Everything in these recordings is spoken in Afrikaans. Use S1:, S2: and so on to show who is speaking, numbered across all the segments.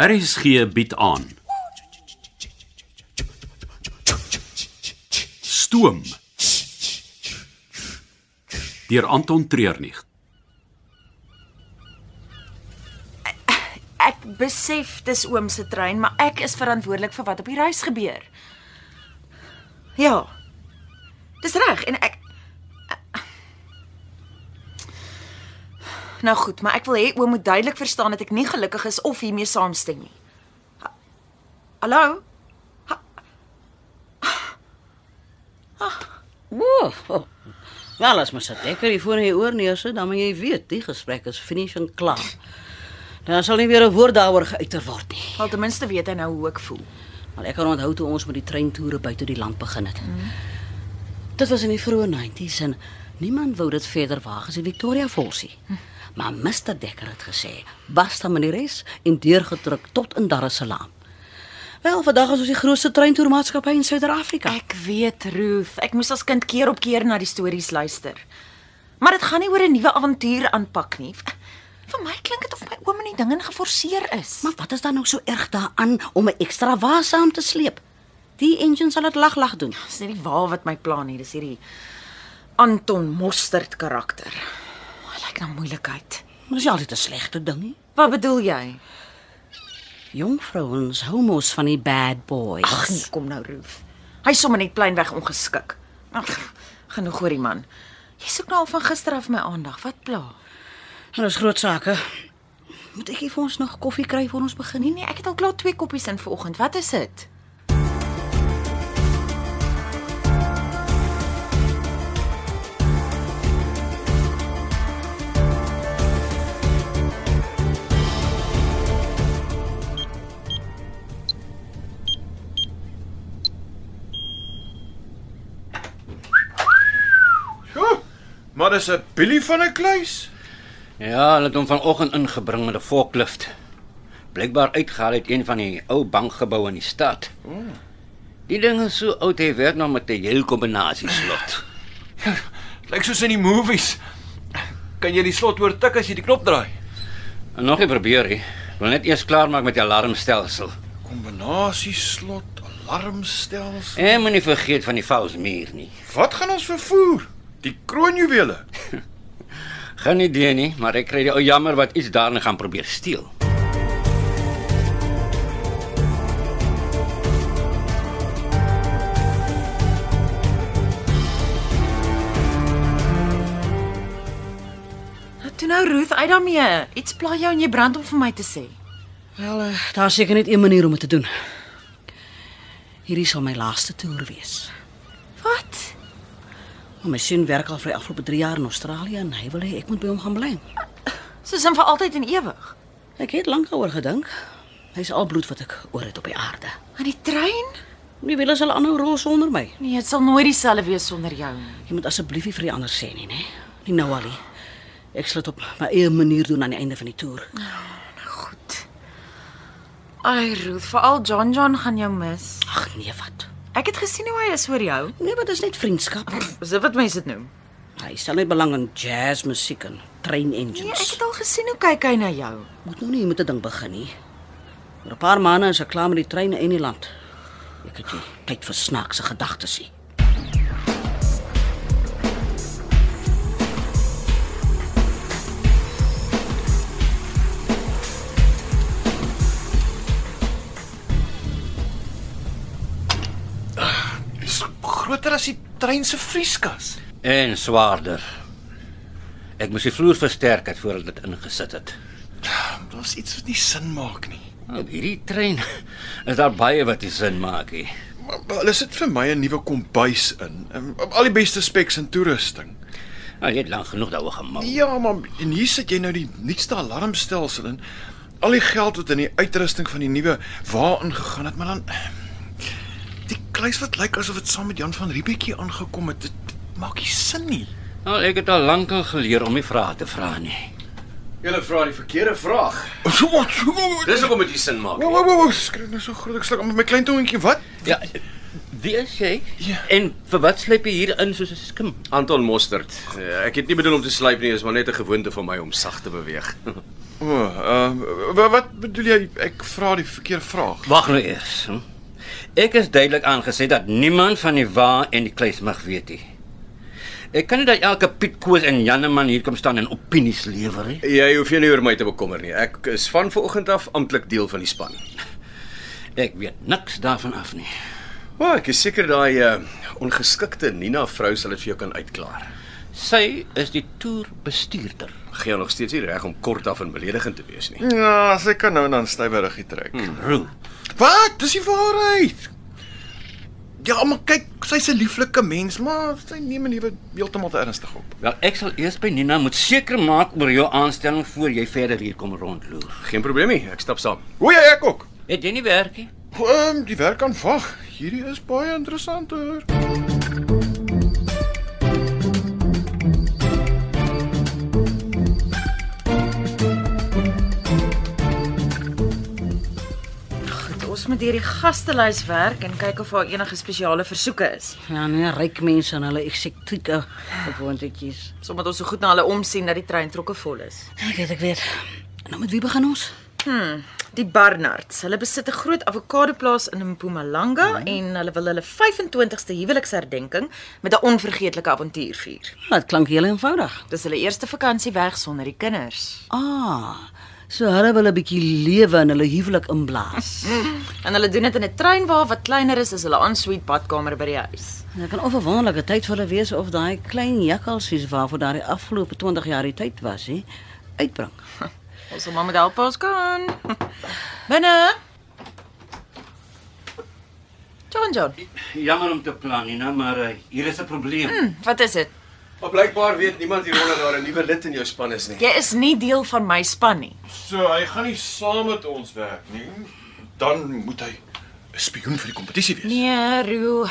S1: RSG bied aan. Stoom. Deur Anton Treurnig.
S2: Ek besef dis oom se trein, maar ek is verantwoordelik vir wat op die reis gebeur. Ja. Dis reg en ek Nou goed, maar ek wil hê oom moet duidelik verstaan dat ek nie gelukkig is of hiermee saamstem nie. Ha- Hallo?
S3: Woah. Oh. Wel, as mens dit lekker hier voor in jou oor neersit, dan moet jy weet, die gesprek is finies en klaar. Daar sal nie weer 'n woord daaroor geuiter word nie.
S2: Al ten minste weet hy nou hoe ek voel.
S3: Maar ek kan onthou toe ons met die treintoere buite die land begin het. Mm. Dit was in die vroeë 90's en niemand wou dit verder waag as die Victoria Falls. Mm. Maar Mr Dekker het gesê, "Basta met die res," en deurgetrek tot in Dar es Salaam. Wel, vandag is ons die grootste treintoermaatskappy in Suid-Afrika.
S2: Ek weet, Roof, ek moes as kind keer op keer na die stories luister. Maar dit gaan nie oor 'n nuwe avontuur aanpak nie. V- Vir my klink dit of my oom in die ding ingeforseer is.
S3: Maar wat is dan nou so erg daaraan om 'n ekstra wa saam te sleep? Die engine sal dit lag lag doen.
S2: dis nie die wa wat my plan nie, dis hierdie Anton Mostert karakter. Hy lyk na moeilikheid.
S3: Maar dis altyd 'n slegte ding nie.
S2: Wat bedoel jy?
S3: Jong vrouens hou mos van die bad boys.
S2: Ag, nee, kom nou, Roof. Hy's sommer net pleinweg ongeskik. Ag, genoeg oor die man. Jy soek nou al van gister af my aandag. Wat pla?
S3: en ons groot sake. Moet ek hier vir ons nog koffie kry voor ons begin?
S2: Nee nee, ek het al klaar twee koppies in vanoggend. Wat is dit?
S4: Ja, maar dis 'n bilie van 'n kluis.
S5: Ja, hulle het hom vanoggend ingebring met 'n volklift. Blykbaar uitgehaal uit een van die ou bankgeboue in die stad. Die ding is so oud hy werk nog met 'n heel kombinasie slot.
S4: Lyk soos in die movies. Kan jy die slot oortik as jy die knop draai?
S5: En nog nie probeer nie. Wil net eers klaarmaak met die alarmstelsel.
S4: Kombinasie slot, alarmstelsel.
S5: En moenie vergeet van die valsmuur nie.
S4: Wat gaan ons vervoer? Die kroonjuwele.
S5: Geen idee nie, maar ek kry die ou jammer wat iets daarin gaan probeer steel.
S2: Toe nou Ruth, uit daarmee. Iets pla jou en jy brand om vir my te sê.
S3: Wel, eh, daar is seker net een manier om dit te doen. Hierdie sal my laaste toer wees.
S2: Wat?
S3: Maar my seun werk al vir die afgelope 3 jaar in Australië en hy wil hê ek moet by hom gaan bly.
S2: Soos in vir altyd en ewig.
S3: Ek het lank daaroor gedink. Hy's al bloed wat ek oor het op die aarde.
S2: In die trein?
S3: Nie wil as hulle aanhou rol sonder my.
S2: Nee, dit sal nooit dieselfde wees sonder jou nie.
S3: Jy moet asseblief nie vir die ander sê nie, né? Nie nou al nie. Ek sal dit op my eie manier doen aan die einde van die toer.
S2: Goed. Ai Ruth, veral John John gaan jou mis.
S3: Ag nee, wat?
S2: Ek het gesien hoe hy is oor jou.
S3: Nee, maar dit is net vriendskap.
S2: Is dit wat mense dit noem?
S3: Hy stel net belang in jazz musiek en train
S2: Nee,
S3: engines.
S2: ek het al gesien hoe kyk hy na jou.
S3: Moet nou nie met 'n ding begin nie. Oor 'n paar maande is ek klaar met die treine en die land. Ek het nie tyd vir snaakse gedagtes nie.
S4: Dis groter as die trein se vrieskas.
S5: En swaarder. Ek moes die vloer versterk het voordat dit ingesit het.
S4: Daar's iets wat nie sin maak nie.
S5: Op hierdie trein is daar baie wat nie sin maak nie.
S4: Maar, maar hulle sit vir my 'n nuwe kombuis in. en Al die beste speks en toerusting.
S5: Nou, jy het lank genoeg daaroor gemaak.
S4: Ja, maar en hier sit jy nou die nuutste alarmstelsel in. Al die geld wat in die uitrusting van die nuwe wa ingegaan het, maar dan die kluis wat lyk asof dit saam met Jan van Riebeekie aangekom het. Dit, dit maak nie sin nie.
S5: Nou, ek het al lank al geleer om nie vrae te vra nee. nie.
S6: Julle vra die verkeerde vraag.
S4: Wat? Dis
S6: Dis hoekom dit nie sin maak
S4: Wow,
S6: nie.
S4: wow, wow, skrik nou so groot ek sluk met my klein tongetjie. Wat?
S5: Ja, wie is jy?
S4: Ja.
S5: En vir wat sleep jy hier in soos 'n skim?
S6: Anton Mostert. Eh, Ek het nie bedoel om te slyp nie, is maar net 'n gewoonte van my om sag te beweeg.
S4: O, ehm wa- wat bedoel jy ek vra die verkeerde vraag?
S5: Wag nou eers. Hm? Ek is duidelik aangesê dat niemand van die wa en die kluis mag weet nie. Ek kan nie dat elke Piet Koos en Janeman hier kom staan en opinies lewer nie.
S6: Jy hoef jou nie oor my te bekommer nie. Ek is van vanoggend af amptelik deel van die span.
S5: Ek weet niks daarvan af nie.
S6: O, oh, ek is seker daai uh, ongeskikte Nina vrou sal dit vir jou kan uitklaar.
S5: Sy is die toerbestuurder.
S6: Gee nog steeds nie reg om kort af en beledigend te wees nie.
S4: Ja, sy kan nou en dan styweriggie trek.
S5: Roo.
S4: Wat? Dis die waarheid. Ja, maar kyk, sy's 'n lieflike mens, maar sy neem my lewe heeltemal te ernstig op.
S5: Wel, ek sal eers by Nina moet seker maak oor jou aanstelling voor jy verder hier kom rondloer.
S6: Geen probleem nie. Ek stap saam.
S4: O ja, ek ook.
S5: Het jy nie werk nie?
S4: Ehm um, die werk aan wag. Hierdie is baie interessant hoor.
S2: Goed, ons moet hierdie gastelys werk en kyk of daar enige spesiale versoeke is.
S3: Ja, nee, ryk mense en hulle eksekutieke gewoontetjies.
S2: Sommige ons so goed na hulle omsien dat die treintrokke vol is.
S3: Ek weet, ek weet. Nou met wie begin ons?
S2: Die Barnards, hulle besit 'n groot avokadoplaas in Mpumalanga en hulle wil hulle 25ste huweliksherdenking met 'n onvergeetlike avontuur vier.
S3: Ja, Dit klink heel eenvoudig.
S2: Dis hulle eerste vakansie weg sonder die kinders.
S3: Ah, so hulle wil 'n bietjie lewe in hulle huwelik inblaas.
S2: En hulle doen dit in 'n treinwa wat kleiner is as hulle ensuite badkamer by die huis.
S3: Dit Nou, kan of 'n wonderlike tyd vir hulle wees of daai klein jakkalsies waarvoor daai afgelope 20 jaar die tyd was, hè, uitbring.
S2: Ons sal maar met help waar ons kan. Binne. John John,
S5: Jammer om te plan, Nina, maar uh, hier is 'n probleem. Hmm.
S2: wat is dit?
S6: Maar blykbaar weet niemand hieronder daar 'n nuwe lid in jou span is nie.
S2: Jy is nie deel van my span nie.
S4: So, hy gaan nie saam met ons werk nie. Dan moet hy 'n spioen vir die kompetisie wees.
S2: Nee, Roo.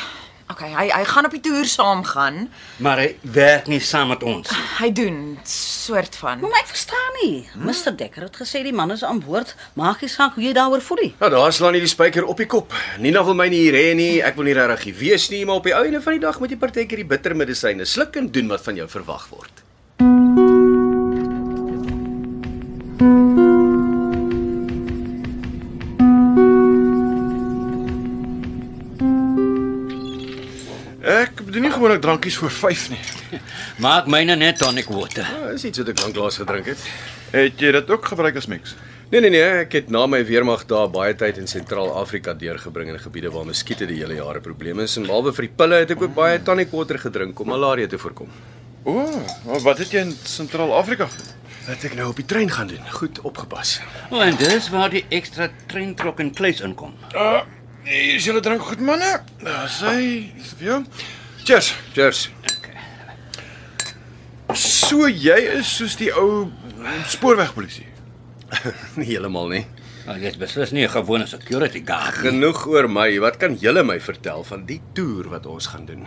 S2: Okay, hy hy gaan op die toer saamgaan.
S5: Maar hy werk nie saam met ons nie.
S2: Hy doen soort van.
S3: Maar ek verstaan nie. Mr Dekker het gesê die man is aan boord. Maak nie saak hoe jy daaroor voel nie.
S6: Nou daar slaan hierdie spyker op die kop. Nina wil my nie hier hê nie. Ek wil nie regtig hier wees nie, maar op die einde van die dag moet jy partykeer die bitter medisyne sluk en doen wat van jou verwag word.
S4: Ek doen nie gewoonlik drankies voor 5 nie.
S5: Maak myne net tonic water.
S6: Ah, is iets wat ek lanklaas gedrink het.
S4: Het jy dit ook gebruik as mix?
S6: Nee nee nee, ek het na my weermag daar baie tyd in Sentraal-Afrika deurgebring in gebiede waar muskiete die hele jare probleme is en behalwe vir die pille het ek ook baie tonic water gedrink om malaria te voorkom.
S4: O, maar wat het jy in Sentraal-Afrika? gedoen?
S6: Wat ek nou op die trein gaan doen. Goed opgepas.
S5: O, en dis waar die ekstra treintrok en kluis inkom.
S4: Uh, hier is julle drank goed manne. Nou, sy, dis vir jou. Cheers.
S6: Cheers.
S4: So jy is soos die ou spoorwegpolisie.
S6: Nie heeltemal nie.
S5: Nou, jy's beslis nie 'n gewone security guard.
S6: Genoeg oor my. Wat kan julle my vertel van die toer wat ons gaan doen?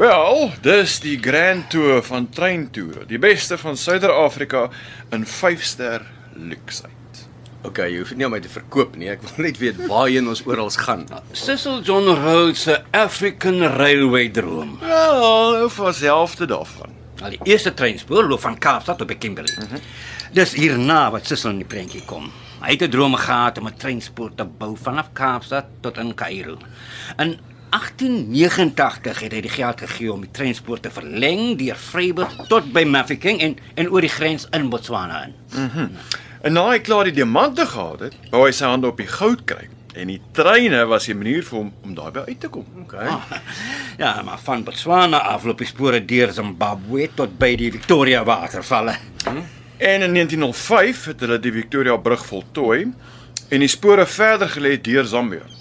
S4: Wel, dis die Grand Tour van treintoere, die beste van Suider-Afrika in 5-ster luksheid.
S6: OK, jy hoef dit nie aan my te verkoop nie. Ek wil net weet waarheen ons oral gaan.
S5: Cecil John Rhodes se African Railway droom.
S4: Wel, hou vas helfte daarvan.
S5: Al die eerste treinspoor loop van Kaapstad tot by Kimberley. Mm -hmm. Dis hierna wat Cecil in die prentjie kom. Hy het 'n droom gehad om 'n treinspoor te bou vanaf Kaapstad tot in Kaïro. In 1889 het hy die geld gegee om die treinspoor te verleng deur Vryburg tot by Mafeking en en oor die grens in Botswana in.
S4: En na hy klaar die diamante gehad het, wou hy sy hande op die goud kry. En die treine was 'n manier vir hom om daarby uit te kom. Okay. Ah.
S5: Ja, maar van Botswana af loop die spore deur Zimbabwe tot by die Victoria watervalle.
S4: En in 1905 het hulle die Victoria Brug voltooi en die spore verder gelê deur Zambië.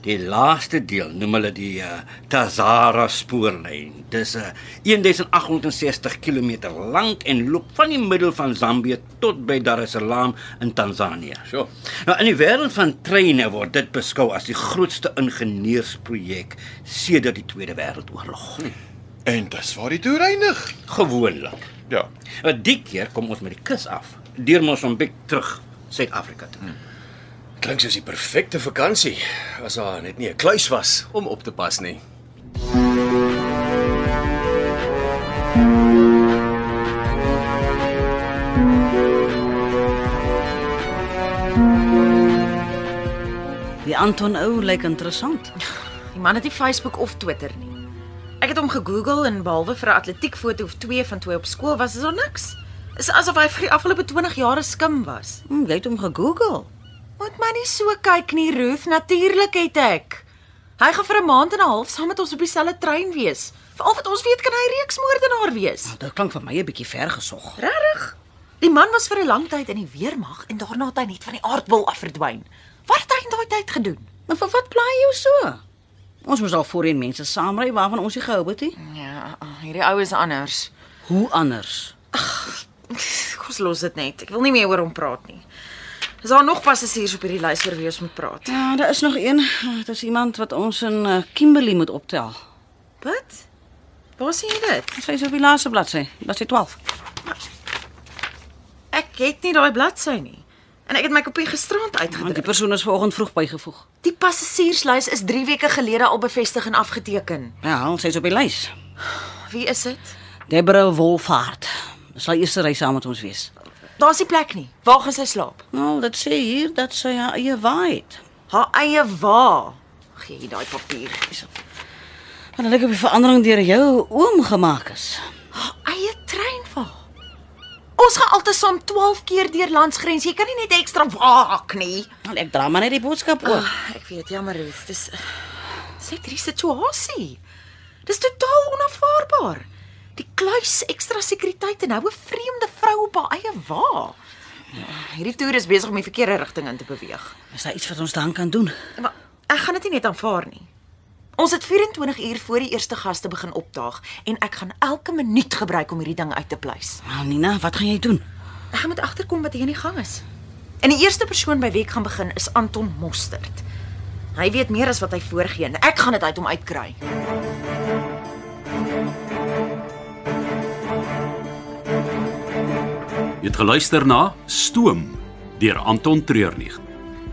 S5: Die laaste deel noem hulle die uh, Tazara spoorlyn. Dis 'n uh, 1860 km lank en loop van die middel van Zambië tot by Dar es Salaam in Tansanië.
S6: Sjoe.
S5: Nou in die wêreld van treine word dit beskou as die grootste ingenieursprojek sedert die Tweede Wêreldoorlog. Hmm.
S4: En dis waar die toer eindig.
S5: Gewoonlik.
S4: Ja.
S5: Maar die keer kom ons met die kus af deur Mosambiek terug Suid-Afrika toe. Hmm.
S6: Klink soos die perfekte vakansie as daar net nie 'n kluis was om op te pas nie.
S3: Die Anton ou lyk interessant.
S2: Die man het nie Facebook of Twitter nie. Ek het hom gegoogel en behalwe vir 'n atletiekfoto of twee van toe hy op skool was, is daar niks. Is asof hy vir die afgelope 20 jare skim was.
S3: Hm, jy het hom gegoogel.
S2: Moet my nie so kyk nie, Ruth. Natuurlik het ek. Hy gaan vir 'n maand en 'n half saam met ons op dieselfde trein wees. Veral wat ons weet kan hy reeksmoordenaar wees.
S3: Nou, dit klink vir my 'n bietjie ver gesog.
S2: Regtig? Die man was vir 'n lang tyd in die weermag en daarna het hy net van die aardbol af verdwyn. Wat het hy in daai tyd gedoen?
S3: Maar vir wat plaai jy jou so? Ons moes al voorheen mense saamry waarvan ons nie gehou het nie.
S2: Ja, hierdie ou is anders.
S3: Hoe anders?
S2: Kom ons los dit net. Ek wil nie meer oor hom praat nie. Is daar nog passasiers op hierdie lys oor wie ons moet praat?
S3: Ja, daar is nog een. Dit is iemand wat ons in eh, Kimberley moet optel.
S2: Wat? Waar sien jy dit?
S3: Sy is op die laaste bladsy, bladsy 12.
S2: Ek het nie daai bladsy nie. En ek het my kopie gisterand
S3: Want die
S2: uitgedruk.
S3: persoon is vanoggend vroeg bygevoeg.
S2: Die passasierslys is 3 weke gelede al bevestig en afgeteken.
S3: Ja, sy is op die lys.
S2: Wie is dit?
S3: Deborah Wolfhard. Sy sal eers ry saam met ons wees.
S2: Daar's nie plek nie. Waar gaan sy slaap?
S3: Nou, dit sê hier dat sy haar eie waai het.
S2: Haar eie wa. Gee hier daai papier.
S3: Want hulle het 'n verandering deur jou oom gemaak is.
S2: Eie trein wa. Ons gaan altesaam 12 keer deur landsgrens. Jy kan nie net ekstra waak nie.
S3: Nou, ek dra maar net die boodskap oor.
S2: Ah, Ek weet, jammer Ruth, dis dis net hierdie situasie. Dis totaal onaanvaarbaar. Die kluis ekstra sekuriteit en nou 'n vreemde vrou op haar eie wa. Ja, Hierdie toer is besig om die verkeerde rigting in te beweeg.
S3: Is daar iets wat ons dan kan doen?
S2: Maar ek gaan dit nie net aanvaar nie. Ons het 24 uur voor die eerste gaste begin opdaag en ek gaan elke minuut gebruik om hierdie ding uit te pleis.
S3: Nou, Nina, wat gaan jy doen?
S2: Ek gaan moet agterkom wat hier in die gang is. En die eerste persoon by wie ek gaan begin is Anton Mostert. Hy weet meer as wat hy voorgee en ek gaan dit uit hom uitkry.
S1: Jy het geluister na Stoom deur Anton Treurnig.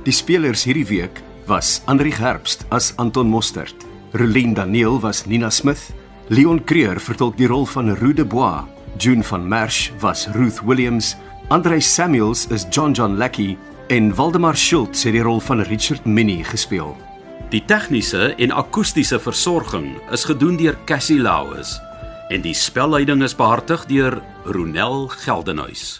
S7: Die spelers hierdie week was Andri Gerbst as Anton Mostert, Relien Daniel was Nina Smith, Leon Creer vertolk die rol van Rue de Bois, June van Merch was Ruth Williams, Andrei Samuels is John John Lackey en Waldemar Schultz het die rol van Richard Minnie gespeel.
S1: Die tegniese en akoestiese versorging is gedoen deur Cassie Lauis en die spelleiding is behartig deur Ronel Geldenhuys.